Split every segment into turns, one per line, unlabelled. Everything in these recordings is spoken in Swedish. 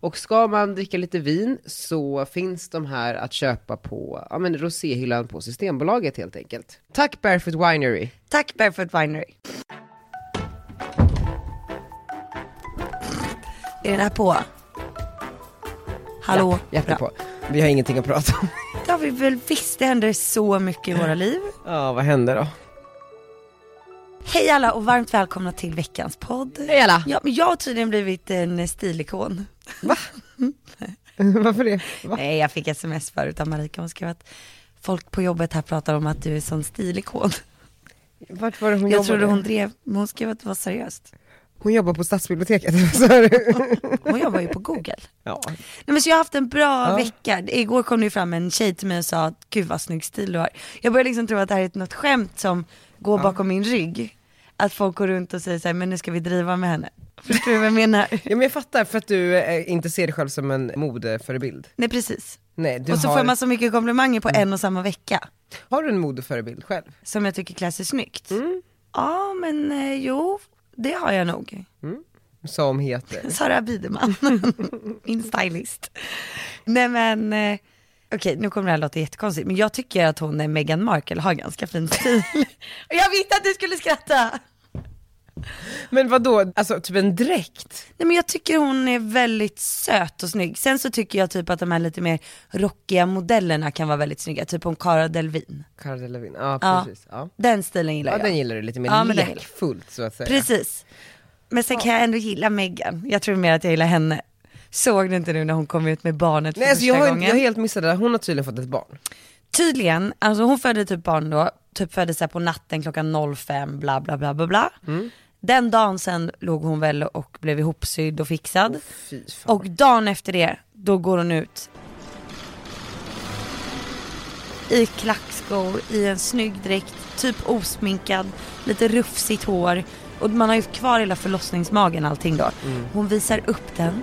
Och ska man dricka lite vin så finns de här att köpa på ja, men roséhyllan på Systembolaget helt enkelt. Tack Barefoot Winery!
Tack Barefoot Winery. Är den här på? Hallå?
Ja,
Bra.
jättebra. Vi har ingenting att prata om.
Det har vi väl visst, det händer så mycket i våra liv.
Ja, vad händer då?
Hej alla och varmt välkomna till veckans podd.
Hej alla.
Ja, men jag har tydligen blivit en stilikon.
Varför det? Va?
Nej, jag fick sms förut av Marika, hon skrev att folk på jobbet här pratar om att du är sån stilikon.
Vart var det hon
Jag
jobbade?
trodde hon drev, men hon skrev att det var seriöst.
hon jobbar på Stadsbiblioteket, sa du?
Hon jobbar ju på Google.
ja.
Nej men så jag har haft en bra vecka. Igår kom det ju fram en tjej till mig och sa att gud vad snygg stil du har. Jag började liksom tro att det här är ett- något skämt som går bakom min rygg. Att folk går runt och säger så här, men nu ska vi driva med henne. Förstår du vad jag menar?
ja, men jag fattar, för att du eh, inte ser dig själv som en modeförebild.
Nej precis.
Nej, du
och så
har... Mm.
får man så mycket komplimanger på en och samma vecka.
har du en modeförebild själv?
Som jag tycker klär sig snyggt.
Mm.
Ja men eh, jo, det har jag nog.
Mm. Som heter?
Sara Biderman, min stylist. Nej men, eh, okej nu kommer det här låta jättekonstigt, men jag tycker att hon är Meghan Markle har ganska fin stil. Och jag visste att du skulle skratta!
Men vad då? alltså typ en dräkt?
Nej men jag tycker hon är väldigt söt och snygg. Sen så tycker jag typ att de här lite mer rockiga modellerna kan vara väldigt snygga, typ om Cara Delvin.
Cara Delevingne, ja
Ja.
precis. Ja.
Den stilen gillar
Ja,
jag.
den gillar du lite mer
Ja, men den gillar
lekfullt så att säga.
Precis. Men sen kan jag ändå gilla Meghan. Jag tror mer att jag gillar henne. Såg du inte nu när hon kom ut med barnet för
Nej alltså
första
jag har,
gången?
jag har helt missat det där, hon har tydligen fått ett barn.
Tydligen, alltså hon födde typ barn då, typ föddes så här på natten klockan 05 bla bla bla bla bla.
Mm.
Den dagen sen låg hon väl och blev ihopsydd och fixad.
Fy fan.
och dagen efter det, då går hon ut i klackskor, i en snygg dräkt, typ osminkad, lite rufsigt hår. Och man har ju kvar hela förlossningsmagen allting då.
Mm.
Hon visar upp den.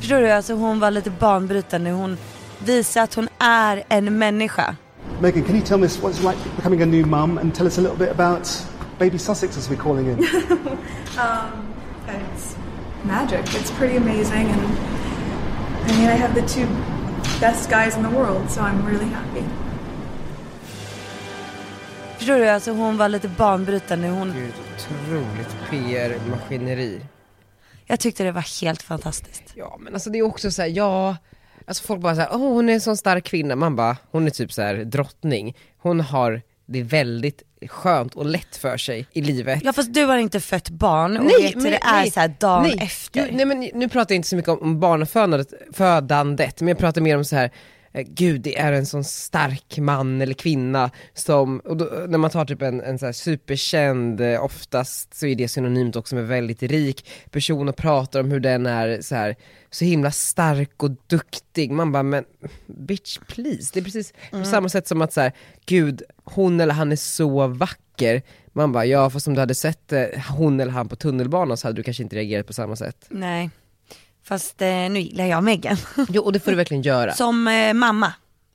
Förstår du? Alltså hon var lite banbrytande. Hon visar att hon är en människa.
Megan, can you tell us what it's like becoming a new mum and tell us a little bit about baby Sussex, as we're calling him?
It's magic. It's pretty amazing, and I mean, I have the two best guys in the world, so I'm really happy.
Förstår du? Alltså hon var lite banbrytande. Hon,
Gud, otroligt PR-maskineri.
jag tyckte det var helt fantastiskt.
Ja men alltså det är också så här, ja, alltså folk bara såhär, åh hon är en sån stark kvinna, man bara, hon är typ så här drottning, hon har det väldigt skönt och lätt för sig i livet.
Ja fast du har inte fött barn och vet hur det är så här dagen
nej.
efter.
Jo, nej men nu pratar jag inte så mycket om, om barnafödandet, födandet, men jag pratar mer om så här eh, Gud det är en sån stark man eller kvinna som, och då, när man tar typ en, en så här superkänd, eh, oftast så är det synonymt också med väldigt rik person och pratar om hur den är så här så himla stark och duktig. Man bara men bitch please, det är precis på samma sätt som att så här, Gud hon eller han är så vacker. Man bara ja fast om du hade sett eh, hon eller han på tunnelbanan så hade du kanske inte reagerat på samma sätt.
Nej. Fast eh, nu gillar jag Megan.
Jo och det
Mm.
får du verkligen göra.
Som eh, mamma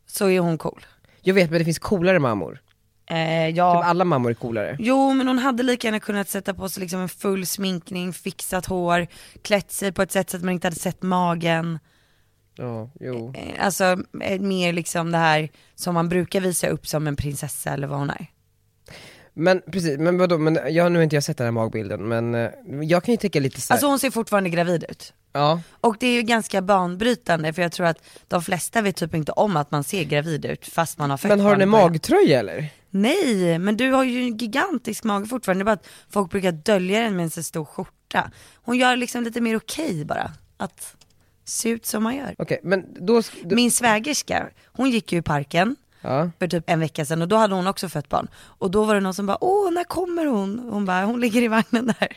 så är hon cool.
Jag vet men det finns coolare mammor. Typ
Eh, ja.
alla mammor är coolare.
Jo men hon hade lika gärna kunnat sätta på sig liksom en full sminkning, fixat hår, klätt sig på ett sätt så att man inte hade sett magen.
Ja, jo.
Eh, alltså eh, mer liksom det här som man brukar visa upp som en prinsessa eller vad hon är.
Men precis, men vadå, men jag, nu har inte jag sett den här magbilden men eh, jag kan ju tänka lite såhär,
Alltså hon ser fortfarande gravid ut.
ja.
Och det är ju ganska banbrytande för jag tror att de flesta vet typ inte om att man ser gravid ut fast man har fött
Men har
barn
den
i
en
början.
magtröja eller?
Nej, men du har ju en gigantisk mage fortfarande. Det är bara att folk brukar dölja den med en så stor skjorta. Hon gör liksom lite mer okej bara, att se ut som man gör.
Okej, men då... sk- då
Min svägerska, hon gick ju i parken
ja.
för typ en vecka sedan och då hade hon också fött barn. Och då var det någon som bara, åh när kommer hon? Hon bara, hon ligger i vagnen där.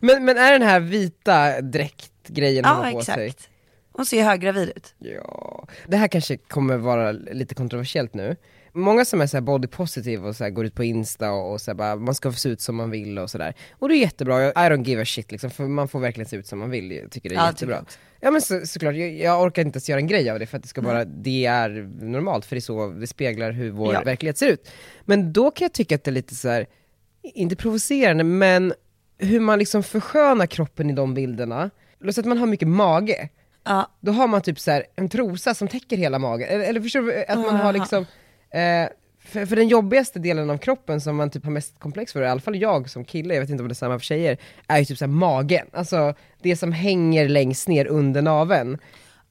men, men är den här vita dräktgrejen hon
Ja
har på sig?
exakt. Hon ser ju höggravid ut.
Ja, det här kanske kommer vara lite kontroversiellt nu. Många som är så här body positive och så här går ut på insta och, och så här bara, man ska få se ut som man vill och sådär. Och det är jättebra, Jag- I don't give a shit liksom, för man får verkligen se ut som man vill, jag tycker det är
Ja, tycker jag
jättebra.
också. Mm.
Ja men så, såklart, jag, jag orkar inte ens göra en grej av det för att det ska bara, det är normalt för det är så, det speglar hur vår
Ja.
verklighet ser ut. Men då kan jag tycka att det är lite så här inte provocerande men hur man liksom förskönar kroppen i de bilderna. Låt säga att man har mycket mage,
Ja,
då har man typ så här en trosa som täcker hela magen. Eller, eller förstår du? Att man
Ah.
har liksom, eh, för, för den jobbigaste delen av kroppen som man typ har mest komplex för, i alla fall jag som kille, jag vet inte om det är samma för tjejer, är ju typ så här magen. Alltså det som hänger längst ner under naveln.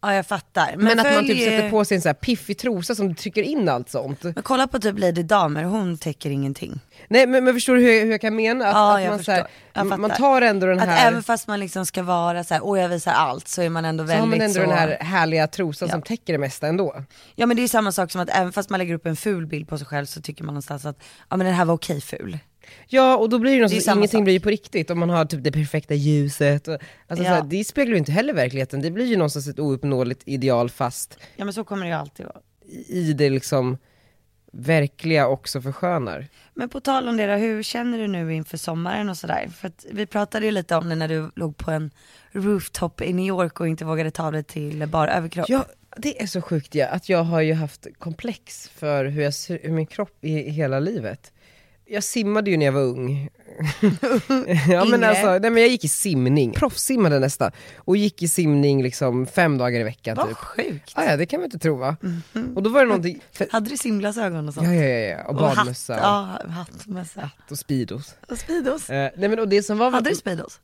ja jag fattar. Men,
Men, att man
följ-
typ sätter på sig en så här piffig trosa som trycker in allt sånt.
Men kolla på typ Lady Damer, hon täcker ingenting.
Nej men, men förstår du hur jag, hur jag kan mena? Att,
Ja,
att
jag
man, så
förstår.
här,
Jag fattar.
man tar ändå den
Att
här,
även fast man liksom ska vara så här, åh jag visar allt, så är man ändå
så har man
väldigt
ändå
så.
den här härliga trosan
Ja.
som täcker det mesta ändå.
Ja men det är ju samma sak som att även fast man lägger upp en ful bild på sig själv så tycker man någonstans att, ja men den här var okej ful.
Ja och då blir det,
Det är
någonstans,
samma
ingenting
sak.
blir ju på riktigt om man har typ det perfekta ljuset. Och, alltså
Ja.
såhär, det speglar ju inte heller verkligheten, det blir ju någonstans ett ouppnåeligt ideal fast
Ja men så kommer det ju alltid vara.
i det liksom verkliga också förskönar.
Men på tal om det då, hur känner du nu inför sommaren och sådär? För att vi pratade ju lite om det när du låg på en rooftop i New York och inte vågade ta dig till bara överkropp.
Ja, det är så sjukt ja, att jag har ju haft komplex för hur, jag ser, hur min kropp är i hela livet. Jag simmade ju när jag var ung. ja, men
Yngre.
alltså, nej, men jag gick i simning, proffssimmade nästan. Och gick i simning liksom fem dagar i veckan
Vad
typ.
sjukt.
Ah, ja, det kan man inte tro va? Och då var det någonting, för,
Hade du simglasögon och sånt?
Ja, ja, ja, ja. och badmössa
Mhm. Och
och,
hatt, ja, hattmössa.
och speedos.
Och speedos.
Eh, nej men och det som var...
Hade du speedos?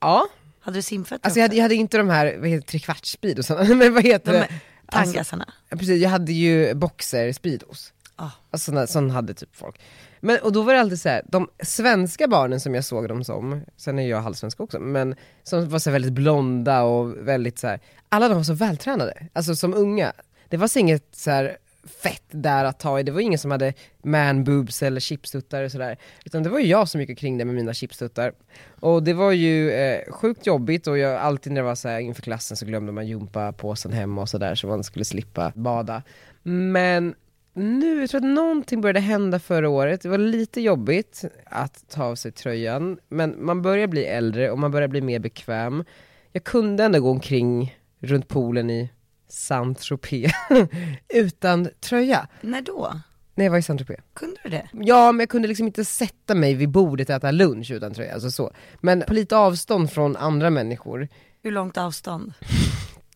Ja.
Hade du simfötter
Alltså jag hade, jag hade inte de här, vad heter det, trekvarts speedosarna, men vad heter
De
det? Alltså,
Tangasarna?
ja, precis, jag hade ju boxer speedos.
Ah.
Alltså såna, sån hade typ folk. Men, och då var det alltid så här, de svenska barnen som jag såg dem som, sen är jag halvsvensk också, men som var så här väldigt blonda och väldigt så här, alla de var så vältränade, alltså som unga. Det var så inget så här fett där att ta i, det var ingen som hade man boobs eller chipstuttar och sådär. Utan det var ju jag som gick omkring där med mina chipstuttar. Och det var ju eh, sjukt jobbigt och jag alltid när det var så här inför klassen så glömde man gympapåsen hemma och sådär så man skulle slippa bada. Men nu, jag tror att någonting började hända förra året. Det var lite jobbigt att ta av sig tröjan, men man börjar bli äldre och man börjar bli mer bekväm. Jag kunde ändå gå omkring runt poolen i Saint-Tropez utan tröja
När då?
när jag var i Saint-Tropez.
Kunde du det?
Ja, men jag kunde liksom inte sätta mig vid bordet och äta lunch utan tröja, alltså så. Men på lite avstånd från andra människor.
Hur långt avstånd?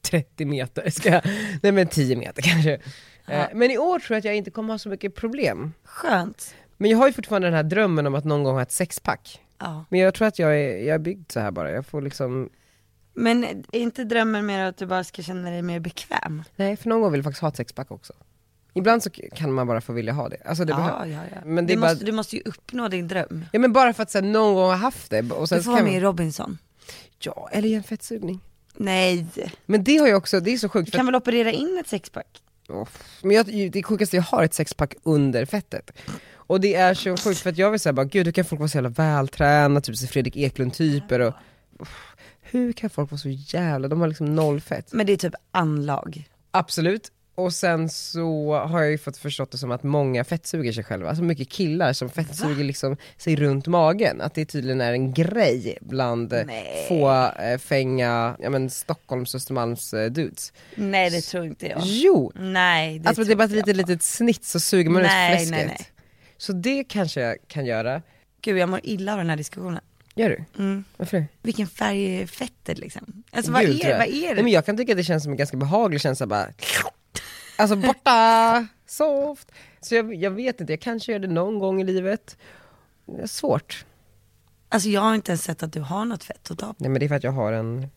30 meter ska jag, nej men 10 meter kanske. Eh, Men i år tror jag att jag inte kommer ha så mycket problem.
Skönt.
Men jag har ju fortfarande den här drömmen om att någon gång ha ett sexpack.
Ja.
Men jag tror att jag är, jag är byggd så här bara, jag får liksom
Men är inte drömmen mer att du bara ska känna dig mer bekväm?
Nej för någon gång vill jag faktiskt ha ett sexpack också. Ibland så k- kan man bara få vilja ha det. Alltså det
ja,
behövs.
ja, ja.
Men det
du,
är bara,
måste, du måste ju uppnå din dröm.
ja men bara för att sen någon gång ha haft det och sen
Du
så
får vara
kan
med i
man,
Robinson.
Ja, eller i en fettsugning.
Nej,
Men det har jag också, det är så sjukt
du
för
kan väl operera in ett sexpack?
Åh, Men jag, det sjukaste, jag har ett sexpack under fettet. Och det är så sjukt för att jag vill säga bara, gud hur kan folk vara så jävla vältränade, typ så Fredrik Eklund typer och Uff, hur kan folk vara så jävla, de har liksom noll fett.
Men det är typ anlag.
Absolut. Och sen så har jag ju fått förstått det som att många fettsuger sig själva, alltså mycket killar som fettsuger liksom sig runt magen. Att det tydligen är en grej bland eh,
Nej.
få eh, fänga, ja men Stockholms och Östermalms eh, dudes.
Nej det tror inte jag.
Jo!
Nej det
Alltså det är
tror
bara ett
inte jag
litet,
på.
litet snitt så suger man
Nej,
ut fläsket.
nej, nej.
Så det kanske jag kan göra.
Gud jag mår illa av den här diskussionen.
Gör du?
Mm.
Varför det?
Vilken färg är fettet liksom? Alltså vad,
Gul,
är,
tror jag.
vad är det?
Nej, men jag kan tycka att det känns som en ganska behaglig känsla bara, alltså borta, soft. Så jag, jag vet inte, jag kanske gör det någon gång i livet. Det är svårt.
Alltså jag har inte ens sett att du har något fett att ta på.
Nej men det är för att jag har en,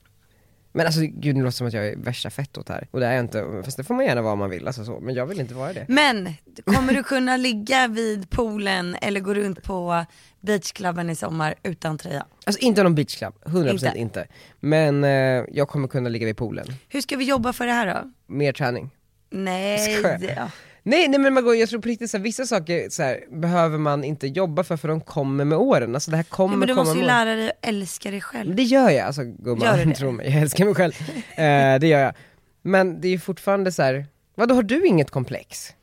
Men alltså gud, nu låter det som att jag är värsta fettot här. Och det är jag inte, fast det får man gärna vara om man vill, alltså så. Men jag vill inte vara det.
Men kommer du kunna ligga vid poolen eller gå runt på beachklubben i sommar utan tröja?
Alltså inte någon beachclub, 100% inte.
Inte.
inte. Men eh, jag kommer kunna ligga vid poolen.
Hur ska vi jobba för det här då?
Mer träning.
Nej,
Skojar.
ja.
Nej, nej men man går, jag tror på riktigt så här, vissa saker så här, behöver man inte jobba för för de kommer med åren. Alltså det här kommer
men du
komma
måste ju
med åren.
lära dig att älska dig själv.
Det gör jag alltså
Gör du
gumman,
det?
tro mig. Jag älskar mig själv. eh, det gör jag. Men det är ju fortfarande så här. vadå har du inget komplex?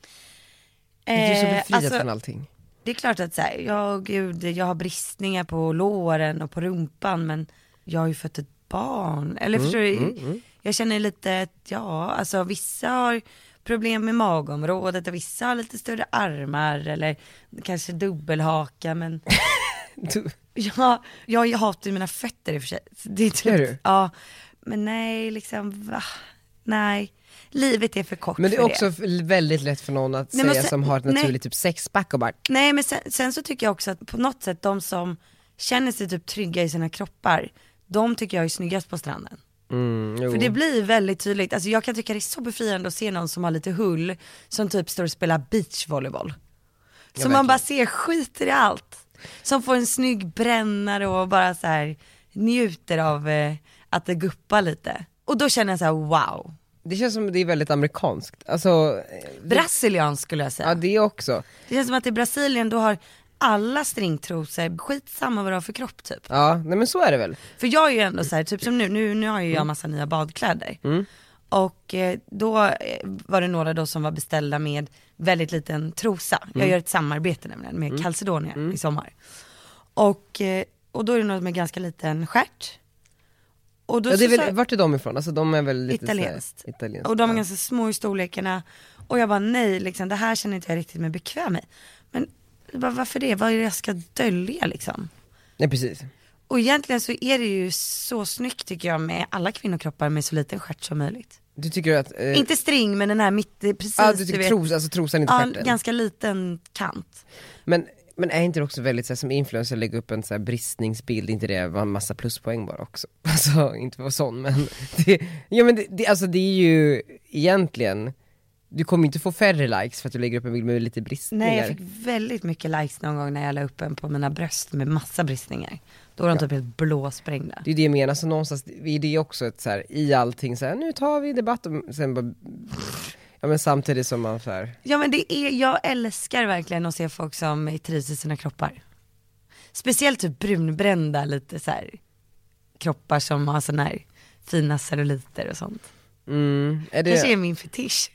Du är ju så
Eh,
befriad
alltså,
från allting.
Det är klart att så här, ja gud, jag har bristningar på låren och på rumpan men jag har ju fött ett barn. Eller
Mm,
förstår du? Jag känner lite att, ja, alltså vissa har problem med magområdet och vissa har lite större armar eller kanske dubbelhaka men
Du,
ja, jag, jag hatar ju mina fötter i och för sig. Så Det är typ,
Gör du?
Ja, men nej liksom, va? Nej. Livet är för kort
men det är
för
också f- väldigt lätt för någon att
Nej, men
säga
sen-
som har ett
nej.
naturligt typ sexpack och bara,
Nej men sen, sen så tycker jag också att på något sätt de som känner sig typ trygga i sina kroppar, de tycker jag är snyggast på stranden.
mm, jo.
För det blir väldigt tydligt, alltså jag kan tycka det är så befriande att se någon som har lite hull, som typ står och spelar beachvolleyboll. Som man bara ser skiter i allt. Som får en snygg brännare och bara så här njuter av eh, att det guppar lite. Och då känner jag så här: wow,
det känns som det är väldigt amerikanskt. Alltså, eh,
brasiliansk skulle jag säga.
ja det också.
Det känns som att i Brasilien då har alla stringtrosor, skitsamma vad du har för kropp typ.
Ja, nej men så är det väl.
För jag är ju ändå så här, typ som nu, nu, nu har ju
Mm.
jag massa nya badkläder. Och eh, då eh, var det några då som var beställda med väldigt liten trosa.
Mm.
Jag gör ett samarbete nämligen med Calcedonia i sommar. Och, eh, och då är det något med ganska liten stjärt. Och då
Ja, det är
så-
väl, vart är de ifrån? Alltså de är väl lite
Italienskt.
Så här, italienskt.
Och de är
ja.
ganska små i storlekarna. Och jag bara nej, liksom, det här känner inte jag riktigt mig bekväm i. Men jag bara, varför det? Vad är det jag ska dölja liksom?
Nej precis.
Och egentligen så är det ju så snyggt tycker jag med alla kvinnokroppar med så liten stjärt som möjligt.
Du tycker att... Eh,
Inte string men den här mitt, det är precis
ja, du tycker tros, alltså trosan inte
ja,
stjärten.
ganska liten kant.
Men, men är inte det också väldigt så här, som influencer lägga upp en så här, bristningsbild, inte det var en massa pluspoäng bara också? Alltså inte för att vara sån men, det, ja, men det, det, alltså, det är ju egentligen, du kommer inte få färre likes för att du lägger upp en bild med lite bristningar.
Nej jag fick väldigt mycket likes någon gång när jag la upp en på mina bröst med massa bristningar. Då var de typ helt blåsprängda.
Det är ju det jag menar, så någonstans är det också ett så här, i allting så här, nu tar vi debatt och sen bara, ja men samtidigt som man så här,
Ja men det är, jag älskar verkligen att se folk som trivs i sina kroppar. Speciellt typ brunbrända lite så här kroppar som har sån här fina celluliter och sånt.
mm, är
Det
det,
kanske är min fetisch.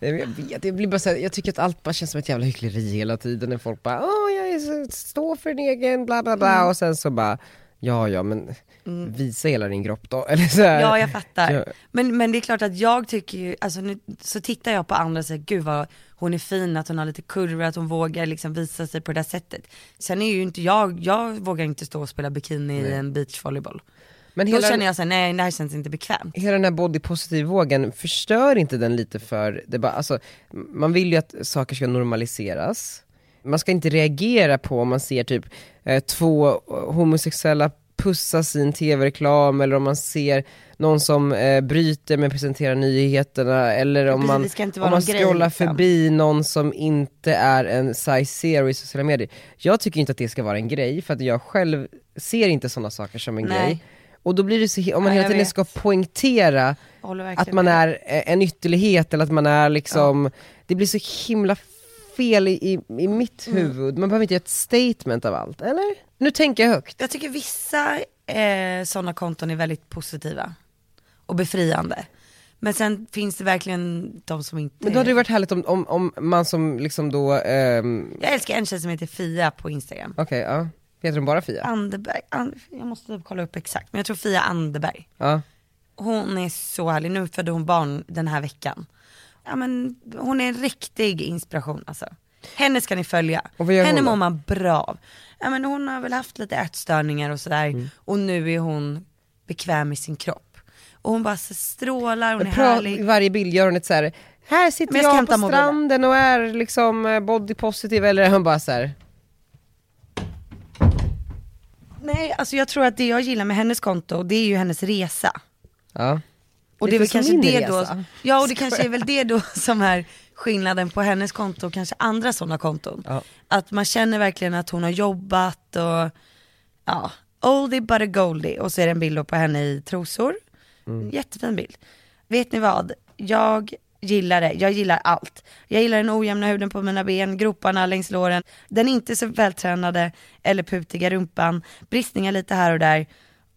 Nej, men jag vet, det blir bara så här, jag tycker att allt bara känns som ett jävla hyckleri hela tiden när folk bara, åh jag är så, står för din egen bla bla
Mm.
bla och sen så bara, ja ja men visa hela din kropp då, eller så här.
Ja jag fattar.
Ja.
Men, men det är klart att jag tycker ju, alltså nu, så tittar jag på andra och säger gud vad hon är fin, att hon har lite kurvor, att hon vågar liksom visa sig på det där sättet. Sen är ju inte jag, jag vågar inte stå och spela bikini i en beachvolleyboll.
Men
Då
hela,
känner jag såhär, nej det här känns inte bekvämt.
hela den här body positive vågen förstör inte den lite för, det bara, alltså, man vill ju att saker ska normaliseras. Man ska inte reagera på om man ser typ eh, två homosexuella pussas i en tv-reklam eller om man ser någon som eh, bryter men presenterar nyheterna eller om
Precis,
man,
det ska inte vara
om man
någon grej,
scrollar
liksom.
förbi någon som inte är en size zero i sociala medier. Jag tycker inte att det ska vara en grej för att jag själv ser inte sådana saker som en
Nej.
grej. Och då blir det så, he- om man
Nej,
hela
jag
tiden
vet.
ska poängtera
Jag håller verkligen
att man
med.
är eh, en ytterlighet eller att man är liksom, det blir så himla fel i, i, i mitt
Mm.
huvud. Man behöver inte göra ett statement av allt, eller? Nu tänker jag högt.
Jag tycker vissa eh, sådana konton är väldigt positiva och befriande. Men sen finns det verkligen de som inte...
Men då hade det varit härligt om, om, om man som liksom då, ehm,
Jag älskar en tjej som heter Fia på Instagram.
okej ja, heter hon bara Fia?
Anderberg, An- jag måste typ kolla upp exakt, men jag tror Fia Anderberg.
Ja.
Hon är så härlig, nu födde hon barn den här veckan. Ja, men hon är en riktig inspiration alltså. Henne ska ni följa.
Och vad gör
Henne
hon då?
mår man bra av. Ja, men hon har väl haft lite ätstörningar och sådär
Mm.
och nu är hon bekväm i sin kropp. Och hon bara så strålar, hon är
Pra, I
härlig.
varje bild gör hon ett så här. här sitter
Men jag
jag,
ska
på
hämta mobilen."
stranden och är liksom eh, body positive eller är hon bara så här.
Nej, alltså jag tror att det jag gillar med hennes konto, det är ju hennes resa.
Ja.
Och det
Lite
är väl
som
kanske
min
det
resa.
då, ja och det kanske är väl det då som är skillnaden på hennes konto och kanske andra sådana konton.
Ja.
Att man känner verkligen att hon har jobbat och ja, oldie but a goldie och så är det en bild då på henne i trosor. Jättefin bild. Vet ni vad, jag gillar det, jag gillar allt. Jag gillar den ojämna huden på mina ben, groparna längs låren, den inte så vältränade eller putiga rumpan, bristningar lite här och där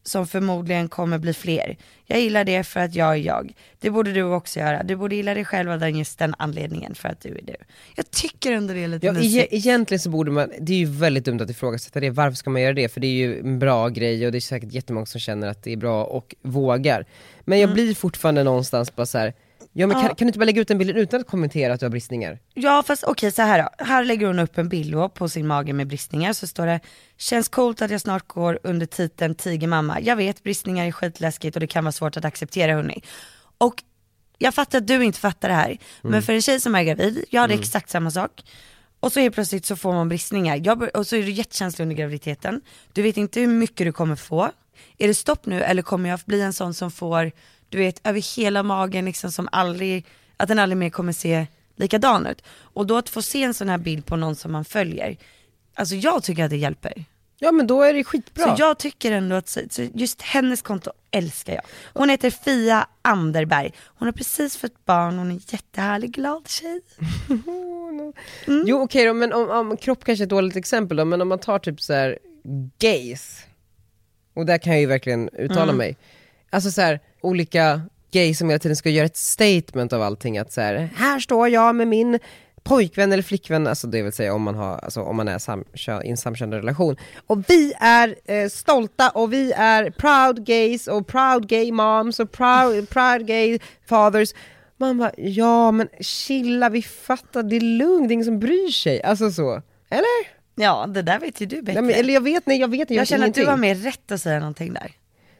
som förmodligen kommer bli fler. Jag gillar det för att jag är jag. Det borde du också göra. Du borde gilla dig själv av den just den anledningen för att du är du. Jag tycker ändå det är lite
Ja, e-
mysigt.
egentligen så borde man, det är ju väldigt dumt att ifrågasätta det, varför ska man göra det? För det är ju en bra grej och det är säkert jättemånga som känner att det är bra och vågar. Men
Mm.
jag blir fortfarande någonstans bara så här. ja men kan, kan du inte bara lägga ut den bilden utan att kommentera att du har bristningar?
Ja fast okej så här då. Här lägger hon upp en bild då på sin mage med bristningar så står det Känns coolt att jag snart går under titeln tigermamma. Jag vet bristningar är skitläskigt och det kan vara svårt att acceptera hörni. Och jag fattar att du inte fattar det här. Men för en tjej som är gravid, jag hade exakt samma sak. Och så helt plötsligt så får man bristningar. Jag, bör- och så är du jättekänslig under graviditeten. Du vet inte hur mycket du kommer få. Är det stopp nu eller kommer jag bli en sån som får, du vet, över hela magen liksom som aldrig, att den aldrig mer kommer se likadan ut. Och då att få se en sån här bild på någon som man följer, alltså jag tycker att det hjälper.
Ja men då är det skitbra.
Så jag tycker ändå att så, så just hennes konto älskar jag. Hon heter Fia Anderberg. Hon har precis fått barn, hon är en jättehärlig, glad tjej. mm.
Jo okej då, men om, om, kropp kanske är ett dåligt exempel då, men om man tar typ så här gays, och där kan jag ju verkligen uttala
Mm.
mig. Alltså så här, olika gays som hela tiden ska göra ett statement av allting, att så här, här står jag med min pojkvän eller flickvän, alltså det vill säga om man, har, alltså om man är samkö- i en samkönad relation. Och vi är eh, stolta och vi är proud gays och proud gay moms och proud, proud gay fathers. Man bara, ja men chilla, vi fattar, det är lugnt, det är ingen som bryr sig. Alltså så. Eller?
Ja, det där vet ju du bättre.
Nej, men, eller jag vet, nej jag vet,
jag
vet
känner att
ingenting.
du har mer rätt att säga någonting där.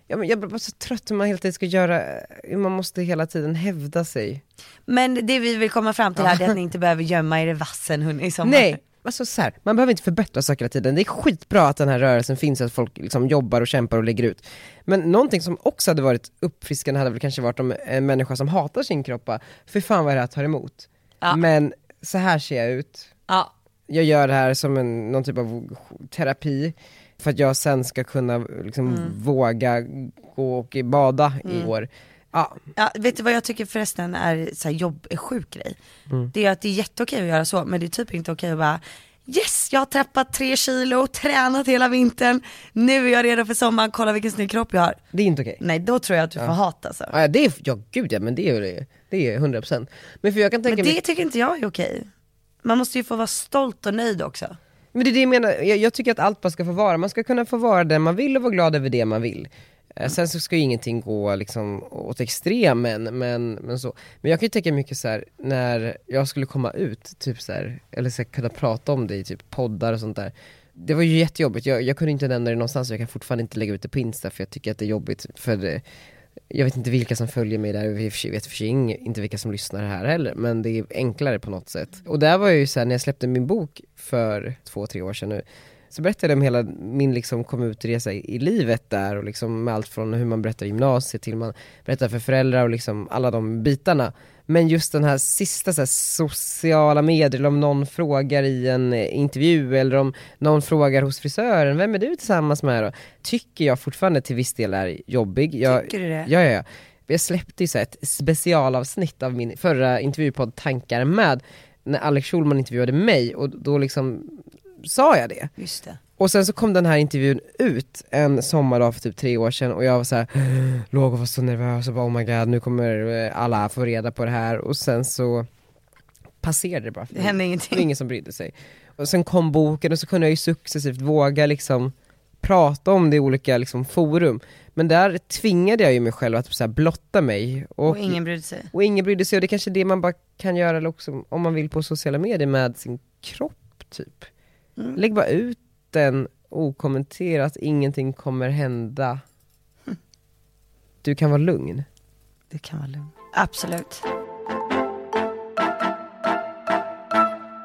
Ja, men jag blir bara så trött hur man hela tiden ska göra, hur man måste hela tiden hävda sig.
Men det vi vill komma fram till här är att ni inte behöver gömma er i vassen hörni. som-
Nej, alltså så här, man behöver inte förbättra saker hela tiden. Det är skitbra att den här rörelsen finns, att folk liksom jobbar och kämpar och lägger ut. Men någonting som också hade varit uppfriskande hade väl kanske varit om en människa som hatar sin kropp, bara, för fan vad det här tar emot.
Ja.
Men så här ser jag ut,
Ja.
jag gör det här som en, någon typ av terapi för att jag sen ska kunna liksom, våga gå och bada i år. Ja,
ja, vet du vad jag tycker förresten är så här, jobb är sjuk grej? Det är att det är jätteokej att göra så, men det är typ inte okej att bara Yes, jag har tappat tre kilo, tränat hela vintern, nu är jag redo för sommaren, kolla vilken snygg kropp jag har.
det är inte okej.
Nej, då tror jag att du får hata alltså.
Ja, det är, ja gud ja, men det är ju det är 100%. Men för jag kan tänka
Men
mig,
det tycker inte jag är okej. Man måste ju få vara stolt och nöjd också.
men det är det jag menar, jag, jag tycker att allt bara ska få vara, man ska kunna få vara den man vill och vara glad över det man vill. Eh, Sen så ska ju ingenting gå liksom åt extremen, men, men så. Men jag kan ju tänka mycket så här när jag skulle komma ut, typ så här, eller så här, kunna prata om det i typ poddar och sånt där. Det var ju jättejobbigt, jag, jag kunde inte nämna det någonstans och jag kan fortfarande inte lägga ut det på Insta för jag tycker att det är jobbigt för det, jag vet inte vilka som följer mig där, och jag vet i och för sig ing- inte vilka som lyssnar här heller, men det är enklare på något sätt. Och där var jag ju såhär, när jag släppte min bok för två, tre år sedan nu, så berättade jag om hela min liksom kom ut-resa i i livet där och liksom med allt från hur man berättar i gymnasiet till man berättar för föräldrar och liksom alla de bitarna. Men just den här sista så här, sociala medier, eller om någon frågar i en eh, intervju eller om någon frågar hos frisören, vem är du tillsammans med då? Tycker jag fortfarande till viss del är jobbig. Jag,
Tycker du det?
Ja, ja, ja. Jag släppte ju så här ett specialavsnitt av min förra intervjupodd Tankar med, när Alex Schulman intervjuade mig och då liksom sa jag det.
Just det.
Och sen så kom den här intervjun ut en sommardag för typ tre år sedan och jag var så här, låg och var så nervös och bara oh my god nu kommer eh, alla få reda på det här och sen så passerade det bara.
Det hände
Det var
ingenting.
ingen som brydde sig. Och sen kom boken och så kunde jag ju successivt våga liksom prata om det i olika liksom forum. Men där tvingade jag ju mig själv att så här blotta mig. Och,
Och ingen brydde sig.
och ingen brydde sig och det är kanske är det man bara kan göra eller också, om man vill på sociala medier med sin kropp typ. Lägg bara ut den okommenterat, ingenting kommer hända. Du kan vara lugn.
Det kan vara lugnt. Absolut.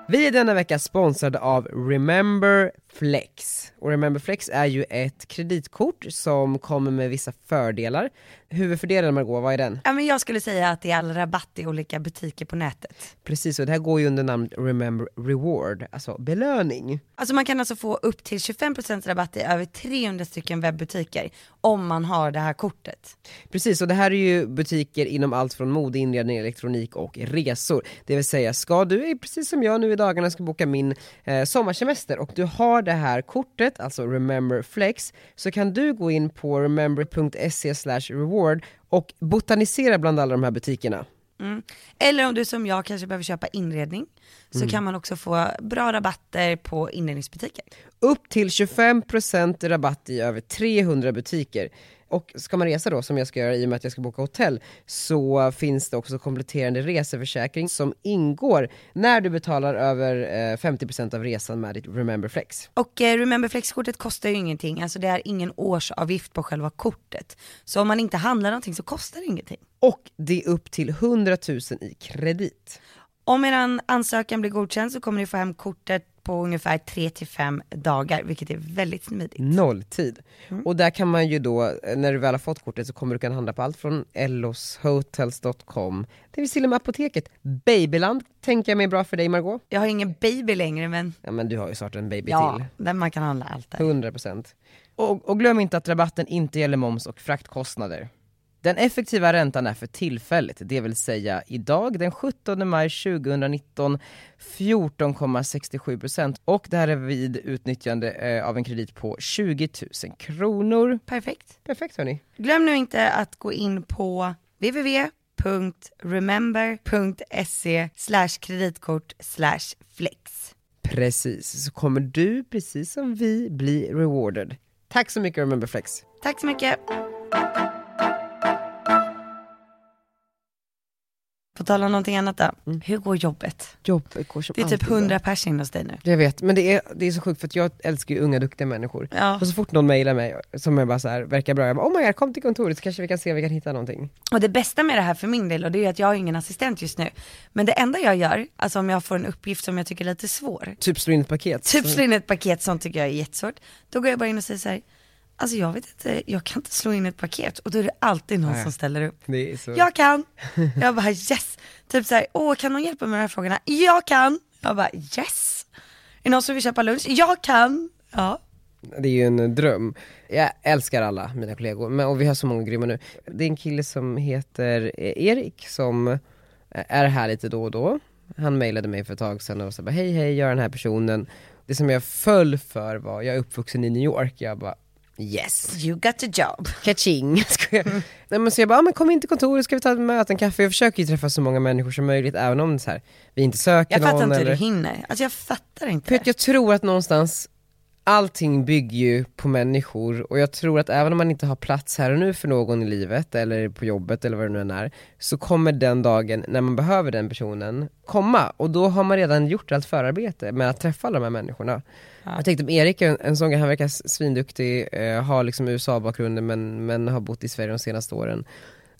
Vi är denna vecka sponsrade av Remember Flex. Och Remember Flex är ju ett kreditkort som kommer med vissa fördelar. Huvudfördelen Margot, vad är den?
Ja, men jag skulle säga att det är all rabatt i olika butiker på nätet.
Precis, och det här går ju under namnet Remember Reward, alltså belöning.
Alltså man kan alltså få upp till 25% rabatt i över 300 stycken webbutiker om man har det här kortet.
Precis, och det här är ju butiker inom allt från mode, inredning, elektronik och resor. Det vill säga, ska du, precis som jag nu i dagarna, ska boka min eh, sommarsemester och du har det här kortet, alltså Remember Flex, så kan du gå in på remember.se reward och botanisera bland alla de här butikerna.
Eller om du som jag kanske behöver köpa inredning så kan man också få bra rabatter på inredningsbutiker.
Upp till 25% rabatt i över 300 butiker. Och ska man resa då, som jag ska göra i och med att jag ska boka hotell, så finns det också kompletterande reseförsäkring som ingår när du betalar över eh, 50% av resan med ditt Remember Flex.
Och eh, Remember Flex-kortet kostar ju ingenting, alltså det är ingen årsavgift på själva kortet. Så om man inte handlar någonting så kostar det ingenting.
Och det är upp till 100 000 i kredit.
Om er ansökan blir godkänd så kommer ni få hem kortet på ungefär 3-5 dagar, vilket är väldigt smidigt.
Nolltid. Och där kan man ju då, eh, när du väl har fått kortet så kommer du kunna handla på allt från elloshotels.com, det finns till och med apoteket. Babyland tänker jag mig är bra för dig Margot.
Jag har ingen baby längre men
Ja men du har ju snart en baby
ja,
till.
där man kan handla allt där.
100%. Och, och glöm inte att rabatten inte gäller moms och fraktkostnader. Den effektiva räntan är för tillfället, det vill säga idag den 17 maj 2019 14,67% och det här är vid utnyttjande eh, av en kredit på 20 000 kronor.
Perfekt.
Perfekt hörni.
Glöm nu inte att gå in på www.remember.se kreditkort flex.
Precis, så kommer du precis som vi bli rewarded. Tack så mycket Rememberflex.
Tack så mycket. På tal om någonting annat då. Hur går jobbet?
Jobbet går som
Det är typ 100 pers in hos dig nu.
Jag vet, men det är, det är så sjukt för att jag älskar ju unga duktiga människor.
Ja.
Och så fort någon mejlar mig som är bara så här, verkar bra, jag bara oh my god kom till kontoret så kanske vi kan se om vi kan hitta någonting.
Och det bästa med det här för min del, och det är ju att jag har ingen assistent just nu. Men det enda jag gör, alltså om jag får en uppgift som jag tycker är lite svår,
Typ slå in ett paket.
typ slå in ett paket, sånt tycker jag är jättesvårt. Då går jag bara in och säger så här, alltså jag vet inte, jag kan inte slå in ett paket. Och då är det alltid någon som ställer upp.
Det är så.
Jag kan! Jag bara yes! Typ så här, åh kan någon hjälpa mig med de här frågorna? Jag kan! Jag bara yes! Är det någon som vill köpa lunch? Jag kan! Ja.
Det är ju en dröm. Jag älskar alla mina kollegor, men, och vi har så många grymma nu. Det är en kille som heter eh, Erik som eh, är här lite då och då. Han mejlade mig för ett tag sedan och var så bara hej hej, jag är den här personen. Det som jag föll för var, jag är uppvuxen i New York, jag bara yes.
You got the job.
Kaching, skojar. Nej men så jag bara, ah, men kom in till kontoret ska vi ta ett möte, en kaffe. Jag försöker ju träffa så många människor som möjligt även om det så här, vi inte söker
Jag fattar
någon
inte hur
eller...
du hinner. Alltså jag fattar inte.
För att
det.
jag tror att någonstans, allting bygger ju på människor och jag tror att även om man inte har plats här och nu för någon i livet eller på jobbet eller vad det nu än är, så kommer den dagen när man behöver den personen komma och då har man redan gjort allt förarbete med att träffa alla de här människorna. Jag tänkte om Erik, är en, en sån, han verkar svinduktig, eh, har liksom USA-bakgrunden men, men har bott i Sverige de senaste åren.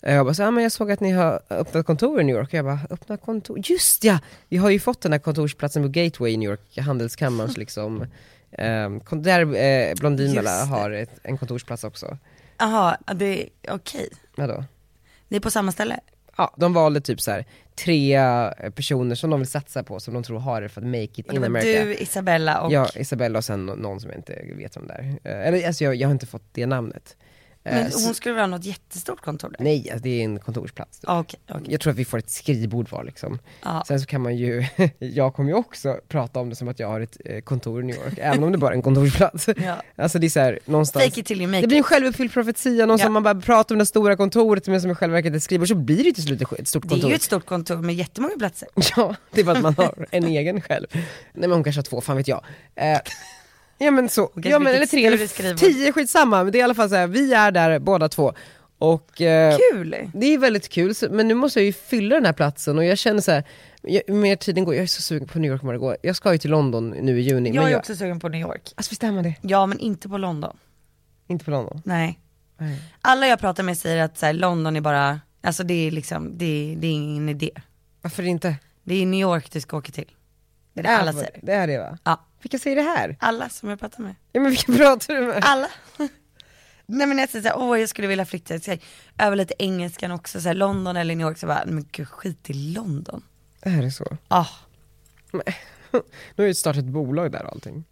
Eh, Jag bara, så, ah, men jag såg att ni har öppnat kontor i New York. Jag bara, öppna kontor? Just ja! Vi har ju fått den här kontorsplatsen på Gateway i New York, handelskammarens liksom. ehm, kon- där eh, Blondinbella
Just det.
har ett, en kontorsplats också.
Jaha, det är okej.
Vadå?
Det är på samma ställe.
Ja, de valde typ så här tre eh, personer som de vill satsa på, som de tror har det för att make it
Och det
in
var
America.
du, Isabella och...
Ja, Isabella och sen nå- någon som jag inte vet om det är. Eh, Eller alltså jag, jag har inte fått det namnet. Eh,
Men
så-
hon skulle väl ha något jättestort kontor där?
Nej, alltså det är en kontorsplats. typ.
Ja, Okej, okej.
Jag tror att vi får ett skrivbord var liksom.
Ja.
Sen så kan man ju, jag kommer ju också prata om det som att jag har ett eh, kontor i New York, även om det bara är en kontorsplats.
Ja.
Alltså det är så här, någonstans.
Fake it till you make
det blir en självuppfylld profetia, någon
Ja.
som man bara pratar om det stora kontoret men som i själva verket är ett skrivbord, så blir det ju till slut ett stort
Det
kontor.
är ju ett stort kontor med jättemånga platser.
Ja, det är bara att man har en egen själv. Nej men hon kanske har två, fan vet jag. Eh, ja men så, ja, men,
fick
eller tre,
ett större
eller
skrivbord.
tio, skitsamma. Men det är i alla fall så här, vi är där båda två. Och, eh,
Kul!
det är väldigt kul, så- men nu måste jag ju fylla den här platsen och jag känner så här, jag, ju mer tiden går, jag är så sugen på New York om det går. Jag ska ju till London nu i juni,
Jag
men
är
jag,
också sugen på New York.
alltså visst är man det?
Ja, men inte på London.
Inte på London.
Nej.
Nej.
Alla jag pratar med säger att så här, London är bara, alltså det är liksom, det är, det är ingen idé.
Varför inte?
Det är New York du ska åka till. Det är
Ja,
alla säger.
Det är det va?
Ja.
Vilka säger det här?
Alla som jag pratar med.
Ja men vilka pratar du med?
Alla. Nej men jag säger såhär, åh jag skulle vilja flytta så här, över lite engelskan också, såhär London eller New York, så bara, men gud skit i London.
Det här är så.
Ah.
Nu har ju startat ett bolag där och allting.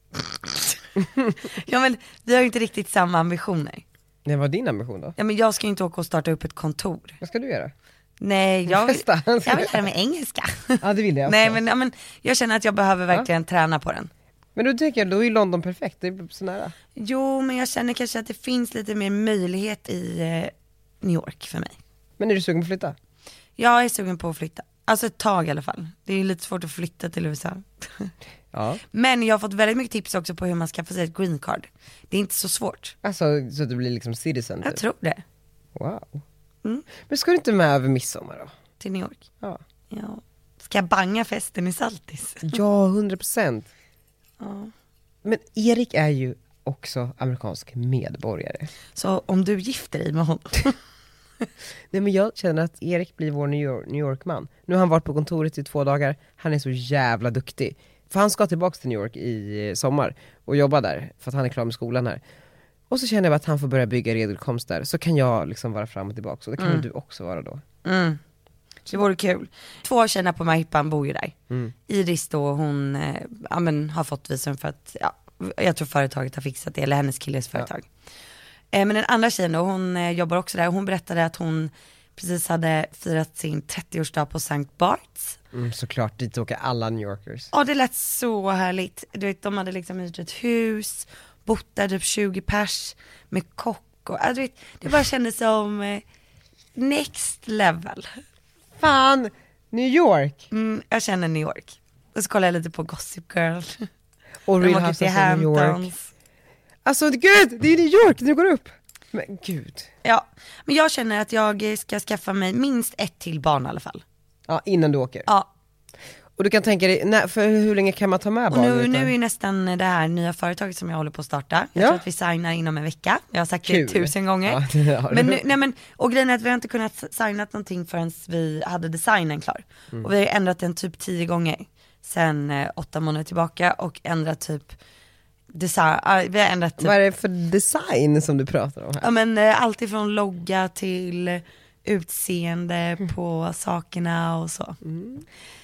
Ja men vi har ju inte riktigt samma ambitioner.
Nej vad är din ambition då?
Ja men jag ska ju inte åka och starta upp ett kontor.
Vad ska du göra?
Nej jag vill,
Festa.
jag vill lära mig engelska.
Ja det vill jag också.
Nej men, ja, men jag känner att jag behöver verkligen träna på den.
Men då tänker jag, då är ju London perfekt, det är så nära.
Jo men jag känner kanske att det finns lite mer möjlighet i eh, New York för mig.
Men är du sugen på att flytta?
Jag är sugen på att flytta. Alltså ett tag i alla fall. Det är ju lite svårt att flytta till USA.
Ja.
Men jag har fått väldigt mycket tips också på hur man skaffar sig ett green card. Det är inte så svårt.
Alltså så att du blir liksom citizen
Jag
typ.
tror det.
Wow.
Mm.
Men ska du inte med över midsommar då?
Till New York.
Ja.
Ja. Ska jag banga festen i Saltis?
Ja, 100 procent.
Ja.
Men Erik är ju också amerikansk medborgare.
Så om du gifter dig med honom.
Nej men jag känner att Erik blir vår New, York, New York-man. Nu har han varit på kontoret i två dagar, han är så jävla duktig. För han ska tillbaka till New York i eh, sommar och jobba där, för att han är klar med skolan här. Och så känner jag bara att han får börja bygga regelkomst där, så kan jag liksom vara fram och tillbaka, och det kan väl
Mm.
du också vara då.
Det vore kul. Två av tjejerna på Mahippan bor ju där. Iris då, hon eh, ja, men, har fått visum för att, ja, jag tror företaget har fixat det, eller hennes killes företag. Eh, men den andra tjejen då, hon eh, jobbar också där, hon berättade att hon precis hade firat sin 30-årsdag på St. Barts.
Mm, såklart, dit åker alla New Yorkers.
Ja det lät så härligt. Du vet de hade liksom hyrt ett hus, bott där typ 20 pers med kock och, ja, du vet, det bara kändes som eh, next level.
Fan! New York!
Mm, jag känner New York. Och så kollar jag lite på Gossip Girl.
Och
De
Real
åker till
Housewives of New York.
Hamptons.
Alltså gud, det är New York, nu går det upp! Men gud.
Ja, men jag känner att jag ska skaffa mig minst ett till barn i alla fall.
Ja, innan du åker.
Ja,
Och du kan tänka dig, när, för hur länge kan man ta med
och nu,
barnen?
nu är ju nästan det här nya företaget som jag håller på att starta. Jag
Ja.
tror att vi signar inom en vecka. Jag har sagt
Kul.
det tusen gånger.
Ja, det har du.
men nu, nej men, och grejen är att vi har inte kunnat signa någonting förrän vi hade designen klar.
Mm.
Och vi har ju ändrat den typ tio gånger sen eh, åtta månader tillbaka och ändrat typ design, ah, vi har ändrat typ
Vad är det för design som du pratar om här?
Ja men eh, allt ifrån logga till utseende på sakerna och så.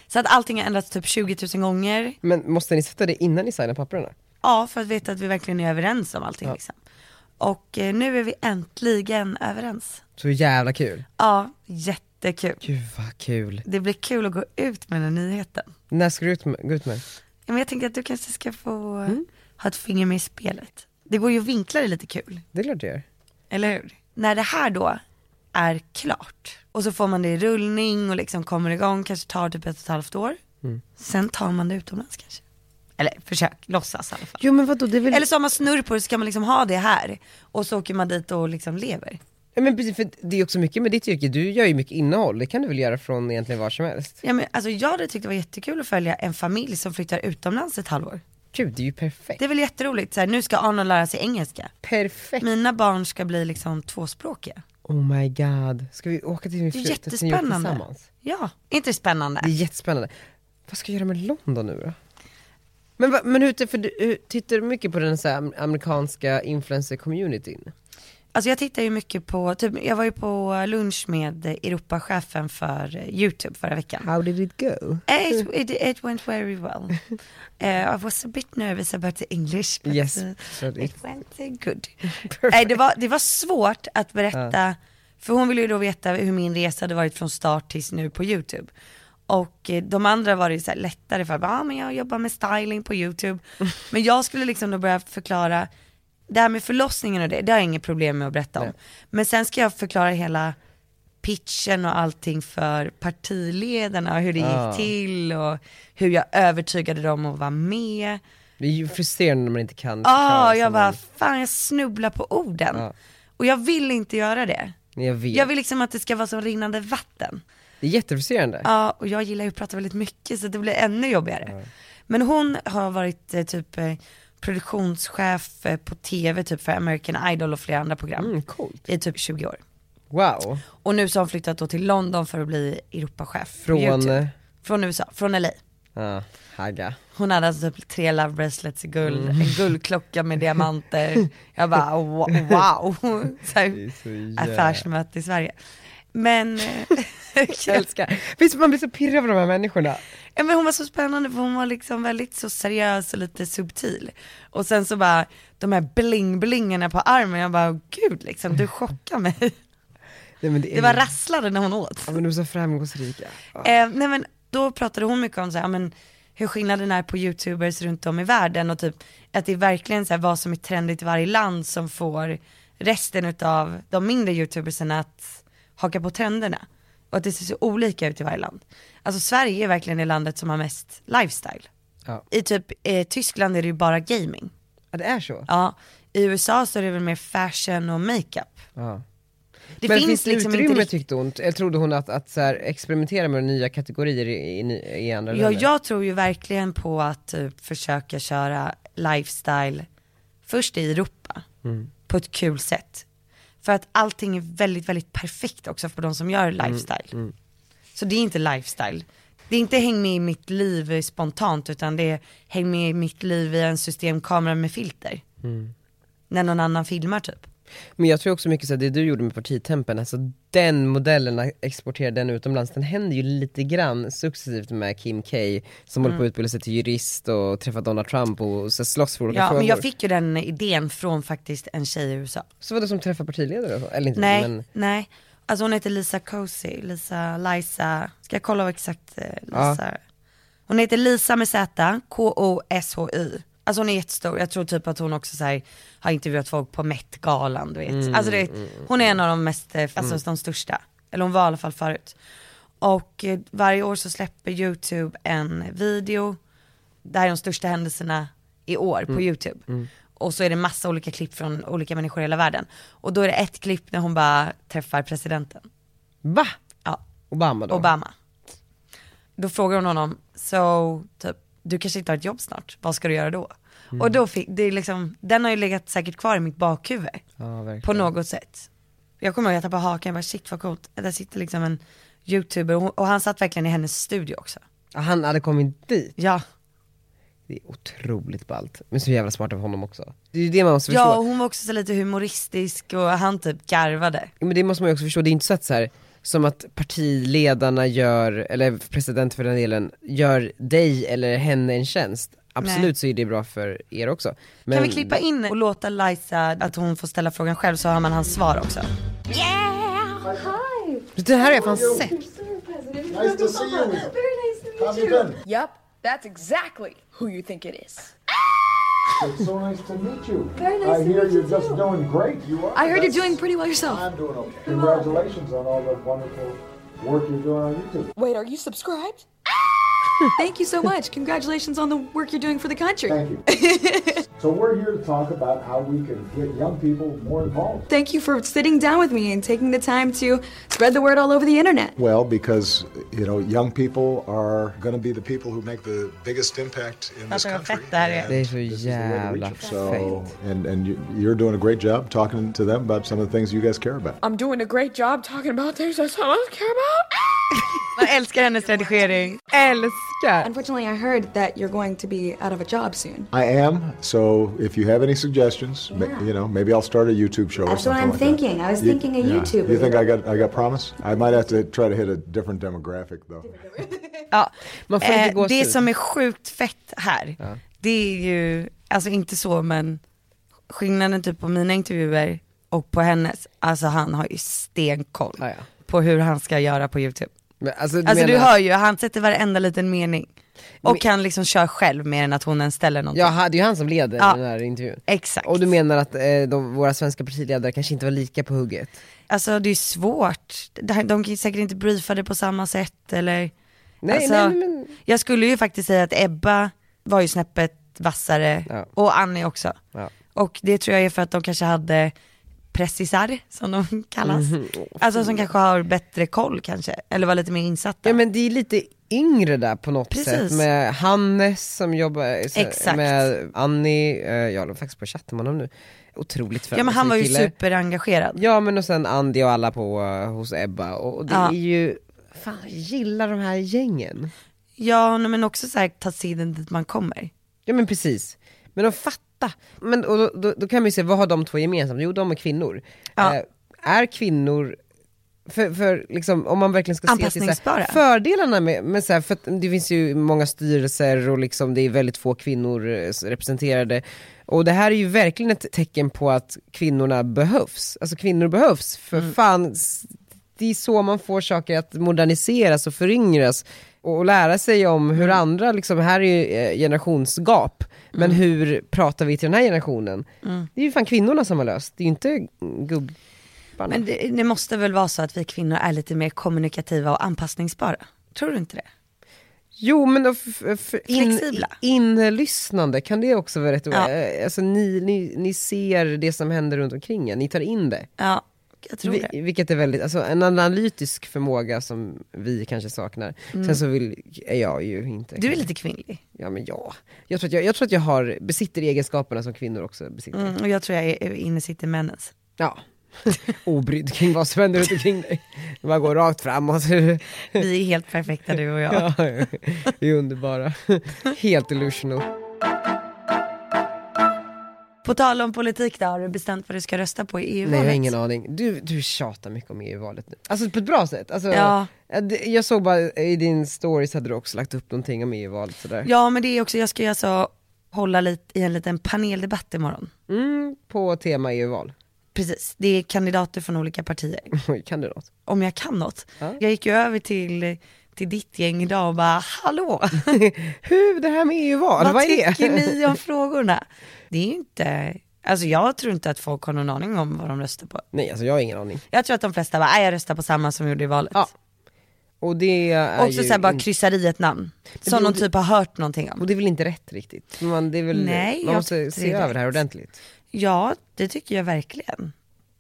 Så att allting har ändrats typ 20 000 gånger.
Men måste ni sätta det innan ni signar papperna?
Ja, för att veta att vi verkligen är överens om allting liksom. Och eh, nu är vi äntligen överens.
Så jävla kul.
Ja, jättekul.
Gud vad kul.
Det blir kul att gå ut med den här nyheten.
När ska du ut med, gå ut med?
Ja, Men jag tänker att du kanske ska få eh, ha ett finger med i spelet. Det går ju att vinkla det lite kul.
Det är klart du gör.
Eller hur? När det här då är klart och så får man det i rullning och liksom kommer igång, kanske tar typ ett och ett halvt år.
Mm.
Sen tar man det utomlands kanske. Eller försök, låtsas i alla fall.
Jo men vadå, det är väl...
Eller så har man snurr på det så kan man liksom ha det här och så åker man dit och liksom lever.
Ja, men precis, för det är också mycket med ditt yrke, du gör ju mycket innehåll, det kan du väl göra från egentligen var som helst?
Ja, men, alltså, jag hade tyckt det var jättekul att följa en familj som flyttar utomlands ett halvår.
Gud, det är ju perfekt.
Det är väl jätteroligt, så här, nu ska Arnold lära sig engelska.
Perfekt!
Mina barn ska bli liksom tvåspråkiga.
Oh my god, ska vi åka till min
Det
fru till
är
New York
jättespännande.
tillsammans?
Ja, inte spännande.
Det är jättespännande. Vad ska jag göra med London nu då? Men, va- men hur, för du, hur, tittar du mycket på den så här am- amerikanska influencer-communityn?
Alltså jag tittar ju mycket på, typ, jag var ju på lunch med Europachefen för eh, YouTube förra veckan.
How did it go?
Eh, It, it, it went very well. Eh, I was a bit nervous about the English. But
Yes,
eh,
but
it went eh, good. Eh, det, var, det var svårt att berätta, för hon ville ju då veta hur min resa hade varit från start tills nu på YouTube. Och eh, de andra var det ju så här lättare för, ah, men jag jobbar med styling på YouTube. Men jag skulle liksom då börja förklara, det här med förlossningen och det, det har jag inget problem med att berätta om. Men sen ska jag förklara hela pitchen och allting för partiledarna och hur det
Ah.
gick till och hur jag övertygade dem att vara med.
Det är ju frustrerande när man inte kan
Ja,
förklara
Ah, jag
som
bara,
man- Ah.
fan jag snubblar på orden.
Ja.
Och jag vill inte göra det.
Nej, jag vet.
Jag vill liksom att det ska vara som rinnande vatten.
Det är jättefrustrerande.
Ja, och jag gillar ju att prata väldigt mycket så det blir ännu jobbigare. Men hon har varit eh, typ eh, produktionschef eh, på tv typ för American Idol och flera andra program
Mm, coolt.
i typ 20 år.
Wow.
Och nu så har hon flyttat då till London för att bli Europachef på
Från,
YouTube.
eh,
Från USA, från LA.
Ja, hagga.
Hon hade alltså typ tre love bracelets i guld,
Mm.
en guldklocka med diamanter. Jag bara wow, wow. Så här,
Det är så jävla-
affärsmöte i Sverige. Men, eh,
Jag älskar. Visst man blir så pirrig av de här människorna?
ja, men hon var så spännande för hon var liksom väldigt så seriös och lite subtil. Och sen så bara, de här bling-blingarna på armen, jag bara gud liksom, du chockar mig.
Nej, men är-
Det var rasslade när hon åt.
Ja, men de är så framgångsrika. Ja.
Eh, nej men då pratade hon mycket om så här, ja, men hur skillnaden är på youtubers runt om i världen och typ att det är verkligen så här, vad som är trendigt i varje land som får resten av de mindre youtuberserna att haka på trenderna. Och att det ser så olika ut i varje land. Alltså Sverige är verkligen det landet som har mest lifestyle.
Ja.
I typ eh, Tyskland är det ju bara gaming.
Ja, det är så.
Ja, i USA så är det väl mer fashion och makeup.
Ja.
Det
men
finns, liksom
utrymme
inte riktigt.
tyckte hon, eller trodde hon att, att så här, experimentera med nya kategorier i, i, ny- i andra
Ja,
länder?
jag tror ju verkligen på att typ, försöka köra lifestyle först i Europa på ett kul sätt. För att allting är väldigt, väldigt perfekt också för de som gör lifestyle. Så det är inte lifestyle. Det är inte häng med i mitt liv spontant utan det är häng med i mitt liv i en systemkamera med filter. När någon annan filmar typ.
Men jag tror också mycket så här, det du gjorde med partitempen, alltså den modellen, exportera den utomlands, den händer ju lite grann successivt med Kim K som håller på
Mm.
att utbilda sig till jurist och träffa Donald Trump och så här, slåss för olika
Ja,
frågor.
men jag fick ju den idén från faktiskt en tjej i USA.
Så var det som träffar partiledare och så? eller inte,
Nej,
men
nej. Alltså hon heter Lisa Cozy, Lisa, Lisa, ska jag kolla vad exakt eh,
Ja.
Lisa Hon heter Lisa med Z, K-O-S-H-Y. Alltså hon är jättestor, jag tror typ att hon också så här, har intervjuat folk på Met-galan du vet.
Mm,
alltså det, hon är en av de mest, eh, alltså de största. Eller hon var i alla fall förut. Och eh, varje år så släpper YouTube en video, det här är de största händelserna i år på YouTube. Och så är det massa olika klipp från olika människor i hela världen. Och då är det ett klipp när hon bara träffar presidenten.
va?
Ja,
Obama då?
Obama. Då frågar hon honom, så typ, du kanske inte har ett jobb snart, vad ska du göra då? Och då fick, det är liksom, den har ju legat säkert kvar i mitt bakhuvud
Ja, verkligen.
på något sätt. Jag kommer ihåg att jag tappade hakan, jag bara shit vad coolt, där sitter liksom en youtuber och, hon, och han satt verkligen i hennes studio också.
Han hade kommit dit.
Ja,
Det är otroligt ballt. Men så jävla smart av honom också. Det är ju det man måste
ja
förstå.
och hon var också så lite humoristisk och han typ garvade.
Men det måste man ju också förstå, det är inte så att så här, som att partiledarna gör, eller president för den delen, gör dig eller henne en tjänst. Absolut
Nej.
så är det bra för er också. Men
Kan vi klippa in och låta Liza att hon får ställa frågan själv så har man hans svar också.
Det här har jag fan sett.
Nice to see you. Very nice to meet you.
Yep, that's exactly who you think it is.
It's so nice to meet you.
Very nice
I
to
hear
meet you
you're just
too.
doing great. You are.
I heard you're
That's-
doing pretty well yourself.
I'm doing okay. Congratulations on all the wonderful work you're doing on YouTube.
Wait, are you subscribed? Thank you so much. Congratulations on the work you're doing for the country.
Thank you. so we're here to talk about how we can get young people more involved.
Thank you for sitting down with me and taking the time to spread the word all over the internet.
Well, because you know, young people are going to be the people who make the biggest impact in this
Fattar vad
country.
fett det här är.
and
Det är så
this is the way to reach
jävla
them. So,
fett.
and and you- you're doing a great job talking to them about some of the things you guys care about.
Um,
I'm doing a great job talking about things that someone else care about.
Man älskar hennes redigering.
Älskar!
Unfortunately, I heard that you're going to be out of a job soon.
I am. So if you have any suggestions, ma- you know, maybe I'll start a YouTube show.
That's
or
what
something
I'm
like
thinking.
That.
I was
You-
thinking a
yeah.
YouTuber.
You think I got I got promise? I might have to try to hit a different demographic though.
Ja.
Man får inte
Eh,
gåshud.
det som är sjukt fett här, det är ju, alltså inte så men skillnaden typ på mina intervjuer och på hennes, alltså han har ju stenkoll
Ja, ja.
på hur han ska göra på YouTube.
Men alltså, du
Alltså du
menar-
hör ju, han sätter varenda liten mening. Och han liksom kör själv mer än att hon ens ställer någonting.
Ja, det är ju han som leder
Ja.
den här intervjun.
Exakt.
Och du menar att eh, de, våra svenska partiledare kanske inte var lika på hugget?
Alltså det är svårt, Det här- de kan ju säkert inte briefa det på samma sätt eller
Nej,
alltså,
nej, men-
Jag skulle ju faktiskt säga att Ebba var ju snäppet vassare
Ja.
och Annie också.
Ja.
Och det tror jag är för att de kanske hade pressisar som de kallas.
Mm-hmm.
Alltså som kanske har bättre koll kanske, eller var lite mer insatta.
Ja men det är lite yngre där på något
Precis.
sätt med Hannes som jobbar eh, så-
Exakt.
med Annie, eh, jag håller faktiskt på att chatta med honom nu. Otroligt
ja men han
framgångsrik
var ju
kille.
superengagerad.
Ja men och sen Andy och alla på eh, hos Ebba och, och det
Ja.
är ju, fan jag gillar de här gängen.
Ja, nej, men också så här, ta seden dit man kommer.
Ja men precis, men att fatta. Men och då, då, då kan man ju se, vad har de två gemensamt? Jo de är kvinnor.
Ja.
Eh, är kvinnor, för, för liksom, om man verkligen ska se till så här,
Anpassningsbara.
fördelarna med, med så här, för att det finns ju många styrelser och liksom, det är väldigt få kvinnor eh, representerade. Och det här är ju verkligen ett tecken på att kvinnorna behövs, alltså kvinnor behövs, för
Mm.
fan s- det är så man får saker att moderniseras och föryngras och och lära sig om hur
Mm.
andra, liksom, här är ju eh, generationsgap, men
Mm.
hur pratar vi till den här generationen? Det är ju fan kvinnorna som har löst, det är ju inte gubbarna.
Men det, det måste väl vara så att vi kvinnor är lite mer kommunikativa och anpassningsbara? Tror du inte det?
Jo men då f- f- in,
Flexibla.
inlyssnande, kan det också vara rätt ord?
Ja.
Eh, Alltså ni, ni, ni ser det som händer runt omkring er, ni tar in det.
Ja, jag tror det.
Vi, vilket är väldigt, alltså en analytisk förmåga som vi kanske saknar. Sen så vill, är jag ju inte
Mm. Du är lite kvinnlig.
Ja men ja, jag tror att jag, jag, tror att jag har, besitter egenskaperna som kvinnor också besitter.
Mm, och jag tror jag är- är inne sitter männens.
Ja. Obrydd kring vad som händer runt omkring dig. Du bara går rakt framåt.
Vi är helt perfekta du och jag.
Ja, det är underbara. Helt illusional.
På tal om politik då, har du bestämt vad du ska rösta på i
Nej
EU-valet?
jag har ingen aning. Du, du tjatar mycket om EU-valet nu. Alltså på ett bra sätt. Alltså,
Ja.
det- Jag såg bara i din stories hade du också lagt upp någonting om EU-valet sådär.
Ja men det är också, jag ska ju alltså hålla lite, i en liten paneldebatt imorgon.
Mm, på tema EU-val.
Precis, det är kandidater från olika partier.
Oj, kan du något?
Om jag kan något. Jag gick ju över till, till ditt gäng idag och bara, hallå,
Hur, det här med EU-val,
vad,
vad, är det?
tycker ni om frågorna? Det är ju inte, alltså jag tror inte att folk har någon aning om vad de röstar på.
Nej alltså jag har ingen aning.
Jag tror att de flesta bara, "Nej, jag röstar på samma som gjorde i valet.
Ja, Och det är
Också
ju
såhär bara
inte-
kryssar i ett namn, som någon typ har hört någonting om.
Och det är väl inte rätt riktigt? Man, det är väl,
Nej,
man
jag tycker
måste
det
se
är
över det här
rätt.
ordentligt.
Ja, det tycker jag verkligen.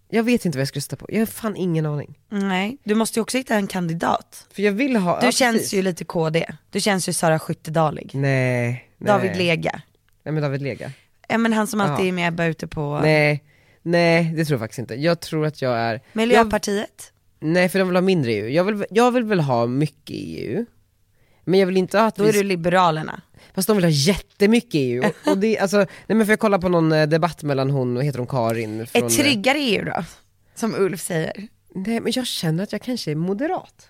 Jag vet inte vad jag ska rösta på, jag har fan ingen aning.
Nej, du måste ju också hitta en kandidat.
För jag vill ha...
Du
ja,
känns
precis.
ju lite KD. Du känns ju Sara Skyttedalig.
Nej, nej.
David Lega.
Nej men David Lega.
Ja men han som alltid
Ja.
är med bara ute på
Nej, nej det tror jag faktiskt inte. Jag tror att jag är...
Miljöpartiet.
Jag, nej för de vill ha mindre EU. Jag vill, jag vill väl ha mycket EU. Men jag vill inte att
Då
vi
är du Liberalerna.
Fast de vill ha jättemycket EU. Och- Och det, alltså, nej men för jag kollade på någon eh, debatt mellan hon, och heter hon Karin? Från,
Ett tryggare EU då, som Ulf säger.
Nej men jag känner att jag kanske är moderat.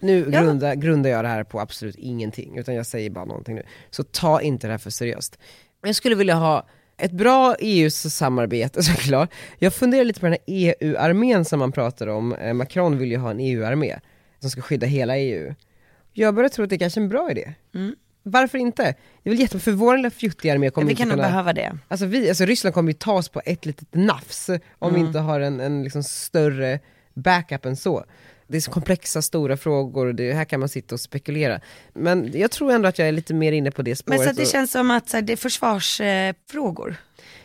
Nu
Ja.
grundar, grundar jag det här på absolut ingenting, utan jag säger bara någonting nu. Så ta inte det här för seriöst. Men Jag skulle vilja ha ett bra EU-samarbete såklart. Jag funderar lite på den här EU-armén som man pratar om. Eh, Macron vill ju ha en EU-armé som ska skydda hela EU. Jag börjar tro att det är kanske är en bra idé. Varför inte? Det är väl jättebra, för vår lilla fjuttiga armé kommer
Vi
inte
kan nog
kunna...
behöva Mm. det.
Alltså, vi, alltså Ryssland kommer ju ta oss på ett litet nafs om
Mm.
vi inte har en, en liksom större backup än så. Det är så komplexa, stora frågor och det, här kan man sitta och spekulera. Men jag tror ändå att jag är lite mer inne på det spåret.
Men så att det
och-
känns som att så här, det är försvarsfrågor.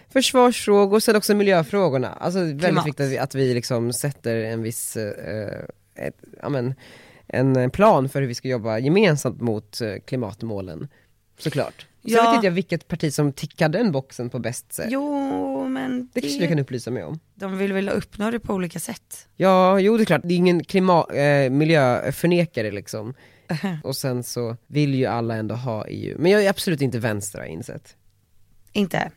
Försvarsfrågor, sen också miljöfrågorna. Alltså det är
Klimat.
väldigt viktigt att vi, att vi liksom sätter en viss, eh, ett, ja, men, en plan för hur vi ska jobba gemensamt mot eh, klimatmålen. Såklart. Sen
Ja.
vet inte jag vilket parti som tickar den boxen på bäst sätt.
Jo men
Det kanske du kan
det,
upplysa mig om.
de vill väl uppnå det på olika sätt.
Ja, jo det är klart, det är ingen klima- eh, miljöförnekare liksom. Och sen så vill ju alla ändå ha EU. Men jag är absolut inte vänster har jag insett.
Inte?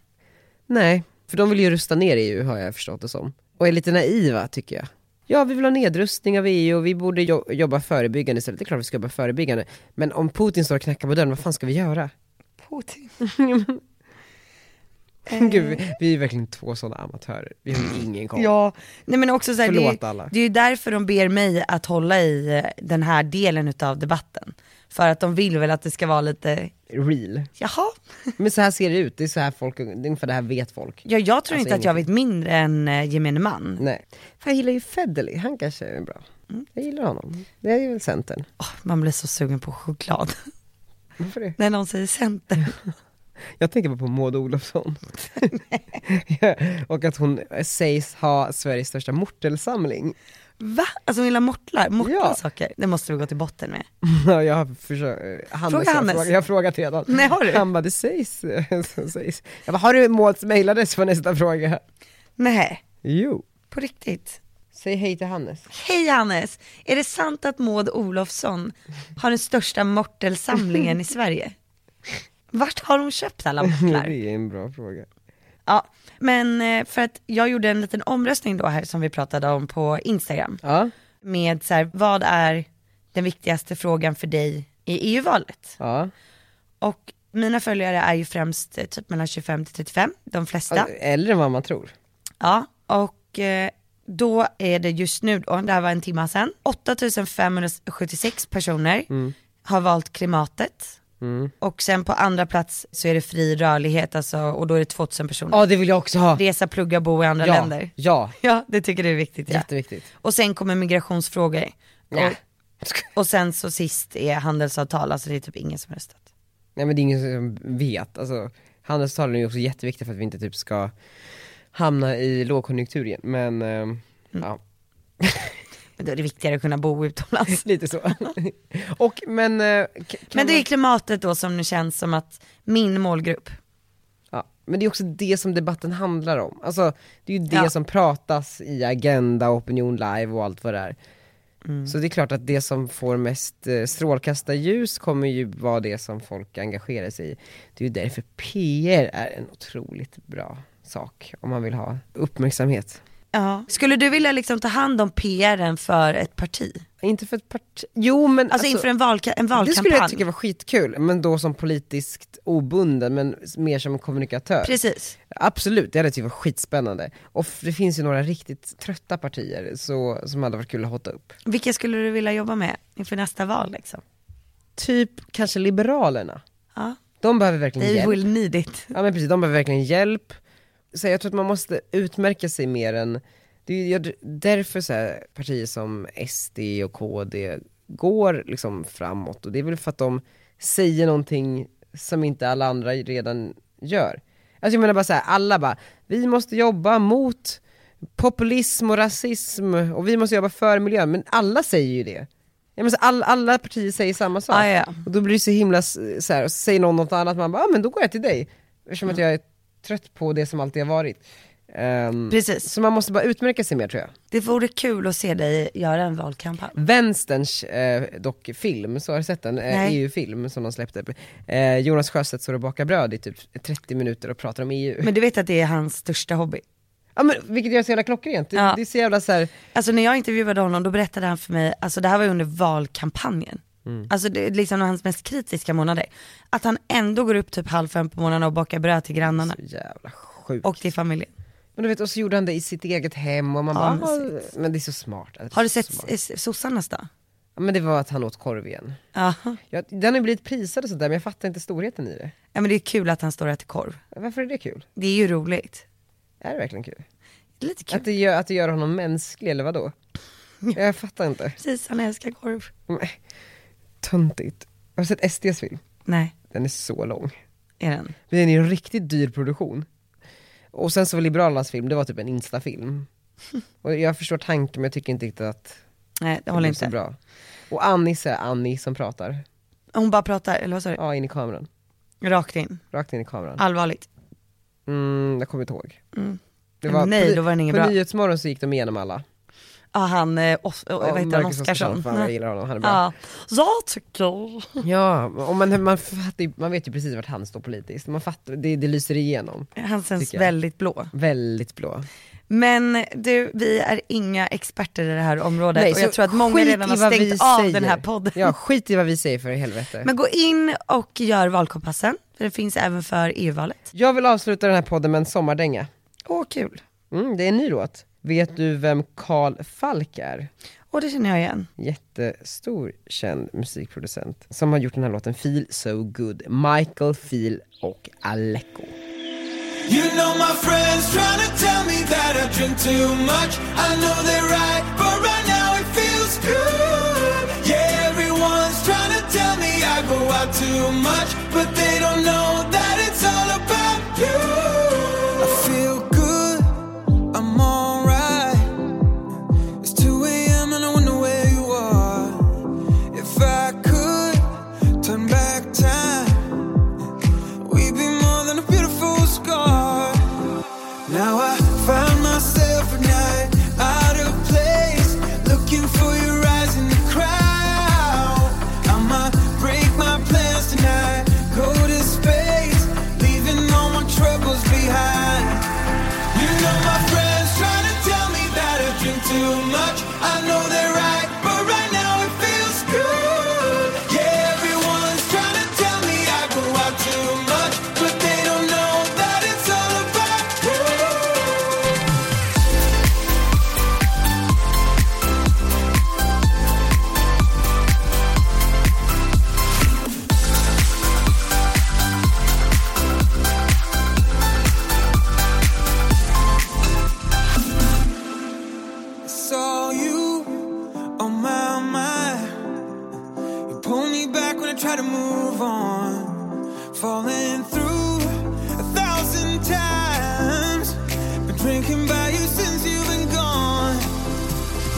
Nej, för de vill ju rusta ner EU har jag förstått det som. Och är lite naiva tycker jag. Ja, vi vill ha nedrustning av EU och vi borde jo- jobba förebyggande istället. Det är klart vi ska jobba förebyggande. Men om Putin står och knackar på dörren, vad fan ska vi göra?
Putin.
Gud, vi- vi är verkligen två sådana amatörer. Vi har ju ingen koll.
Ja, nej men också så här,
Förlåt
det,
alla.
är, det är ju därför de ber mig att hålla i eh, den här delen utav debatten. För att de vill väl att det ska vara lite,
Real.
jaha,
Men så här ser det ut, det är så här folk, det är ungefär det här vet folk.
ja, jag tror
Alltså,
inte att jag vet mindre än eh, gemene man.
Nej. Mm. Fan, jag gillar ju Federley, han kanske är bra. Jag gillar honom. Det är väl Centern.
Åh, man blir så sugen på choklad
Varför det?
när någon säger center.
Jag tänker bara på Maud Olofsson. och att hon sägs ha Sveriges största mortelsamling.
Va? Alltså hon gillar mortlar, mortlar
Ja.
saker. Det måste vi gå till botten med.
Ja, jag har försökt, Hannes,
Fråga Hannes.
Jag, har frågat- jag har frågat redan.
Nej, har du?
Han bara, det sägs. så sägs. Jag bara, har du Mauds mejladress för nästa fråga?
Nej,
Jo.
på riktigt.
Säg hej till Hannes.
Hej Hannes! Är det sant att Maud Olofsson har den största mortelsamlingen i Sverige? Vart har hon köpt alla mortlar?
Det är en bra fråga.
Ja, men eh, för att jag gjorde en liten omröstning då här som vi pratade om på Instagram.
Ja,
Med så här, vad är den viktigaste frågan för dig i EU-valet?
ja.
Och mina följare är ju främst eh, typ mellan 25 till 35, de flesta.
Äldre än vad man tror.
Ja, och eh, då är det just nu då, det här var en timme sedan, 8576 personer
Mm.
har valt klimatet. Och sen på andra plats så är det fri rörlighet alltså, och då är det 2000 personer.
Ja, det vill jag också ha.
Resa, plugga, bo i andra
ja,
länder.
Ja,
Ja, det tycker du är viktigt. Ja.
jätteviktigt.
Och sen kommer migrationsfrågor.
Ja.
Och, och sen så sist är handelsavtal, alltså det är typ ingen som röstat.
Nej men det är ingen som vet, alltså handelsavtalen är ju också jätteviktiga för att vi inte typ ska hamna i lågkonjunktur igen, men
Mm.
ehm, ja,
Men då är det viktigare att kunna bo utomlands.
lite så. Och men, eh, k- kan
Men det
man-
är klimatet då som nu känns som att min målgrupp,
ja, men det är också det som debatten handlar om, alltså det är ju det
Ja.
som pratas i Agenda, Opinion Live och allt vad det är.
Mm.
Så det är klart att det som får mest eh, strålkastarljus kommer ju vara det som folk engagerar sig i. Det är ju därför PR är en otroligt bra sak om man vill ha uppmärksamhet.
Ja. Skulle du vilja liksom ta hand om PRen för ett parti? Alltså,
Inte för ett parti, jo men alltså,
inför en, valka- en
Det skulle jag
valkampanj?
tycka var skitkul, men då som politiskt obunden, men s- mer som kommunikatör.
Precis.
Absolut, det hade jag tyckt var skitspännande. Och f- det finns ju några riktigt trötta partier så, som hade varit kul att hotta upp.
Vilka skulle du vilja jobba med inför nästa val liksom?
Typ kanske Liberalerna.
Ja.
De behöver verkligen
They
hjälp.
will need it.
Ja men precis, de behöver verkligen hjälp. Så jag tror att man måste utmärka sig mer än, det är ju jag- därför så här, partier som SD och KD går liksom framåt och det är väl för att de säger någonting som inte alla andra redan gör. Alltså jag menar bara så här, alla bara, vi måste jobba mot populism och rasism och vi måste jobba för miljön, men alla säger ju det. Jag menar, så all, alla partier säger samma sak.
Ah, ja, ja.
Och då blir det så himla s- så här, och så säger någon något annat, man bara, ah, men då går jag till dig. Eftersom
Mm.
att jag är trött på det som alltid har varit. Ehm,
Precis.
så man måste bara utmärka sig mer tror jag.
Det vore kul att se dig göra en valkampanj.
Vänsterns eh, dock film, så har du sett den? Eh,
Nej.
EU-film som de släppte. Eh, Jonas Sjöstedt står och bakar bröd i typ 30 minuter och pratar om EU.
Men du vet att det är hans största hobby?
ja, men, vilket gör så jävla klockrent. Det,
Ja.
det är så jävla så här,
Alltså när jag intervjuade honom då berättade han för mig, alltså det här var ju under valkampanjen.
Mm.
Alltså det är liksom hans mest kritiska månader. Att han ändå går upp typ halv fem på morgonen och bakar bröd till grannarna
så jävla sjukt.
och till familjen.
Men du vet, och så gjorde han det i sitt eget hem och man
Ja,
bara, men,
mysigt.
men det är så smart. Det är
Har du
så
sett
smart.
eh, sossarnas då?
Ja, men det var att han åt korv igen.
Ja.
Ja, den har ju blivit prisad och sådär men jag fattar inte storheten i det.
Ja men det är kul att han står och äter korv.
Varför är det kul?
Det är ju roligt.
Är det verkligen kul?
Det är Lite kul.
Att det gör, att det gör honom mänsklig eller vadå? Jag fattar inte.
Precis, han älskar korv.
Nej. Töntigt. Har du sett SDs film?
Nej,
Den är så lång.
är den.
Men den är ju en riktigt dyr produktion. Och sen så var Liberalernas film, det var typ en instafilm. Och jag förstår tanken men jag tycker inte riktigt att
Nej, det
det
håller
blev så
inte.
bra. Och Annie så är Annie som pratar.
Hon bara pratar, eller vad sa du?
Ja, in i kameran.
Rakt in,
Rakt in i kameran.
allvarligt.
Mm, jag kommer inte ihåg. Det
Men nej, då var den ingen
på
bra.
Nyhetsmorgon så gick de igenom alla.
Ja, han, eh, Os- eh, vad heter han,
Marcus
Oscarsson?
Fan, jag gillar honom, han är bra.
Ja, jag tycker...
Ja, och man, man, fattar, ju- man vet ju precis vart han står politiskt. Man fattar, det, det lyser igenom.
Han känns
Tycker jag.
väldigt blå.
Väldigt blå.
Men du, vi är inga experter i det här området och jag
så
tror att många
skit
redan har
i vad vi
stängt av
säger.
den här podden.
Ja, skit i vad vi säger för i helvete.
Men gå in och gör valkompassen, för den finns även för EU-valet.
Jag vill avsluta den här podden med en sommardänga.
Åh kul,
Mm, det är en ny låt. Vet du vem Karl Falk är?
och det känner jag igen.
Jättestor känd musikproducent som har gjort den här låten Feel So Good, Michael Feel och Aleko.
You know my friends trying to tell me that I drink too much. I know they're right, but right now it feels good. Yeah, everyone's trying to tell me I go out too much, but they don't know that it's all about you. I feel good, I'm alright. It's 2 a.m. and I wonder where you are. If I could turn back time. We'd be more than a beautiful scar. Now I find myself at night out of place.
too much. I know they're right, but right now it feels good. Yeah, everyone's trying to tell me I go out too much, but they don't know that it's all about you. saw you on Oh, my mind. You pulled me back when I tried to move on. Falling through a thousand times. Been drinking by you since you've been gone.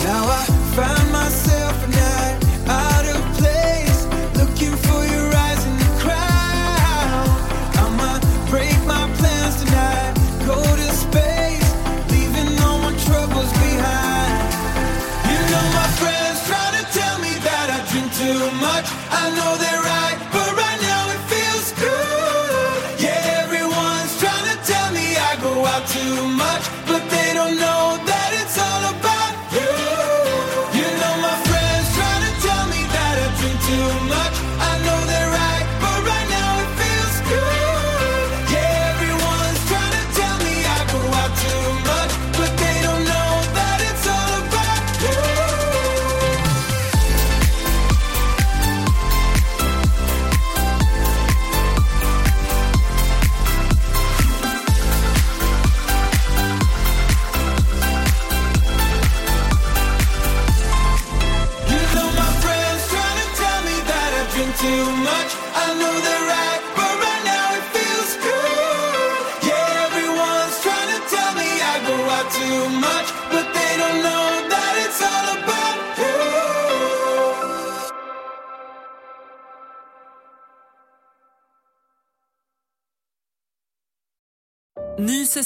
Now I find myself at night out of place, looking for your eyes in the crowd. I'ma break my plans tonight, go to space, leaving all my troubles behind. You know my friends try to tell me that I drink too much. I know they're right, but right now it feels good. Yeah, everyone's trying to tell me I go out too much, but they don't know that it's all about you. You know my friends try to tell me that I drink too much. I know they're right, but right now it feels good. Yeah, everyone's trying to tell me I go out too much, but they don't know that it's all about you. You know my friends trying to tell me that I drink too much. I know they're right, but right now it feels good. Yeah, everyone's trying to tell me I go out too much, but they don't know that it's all about you.
Ny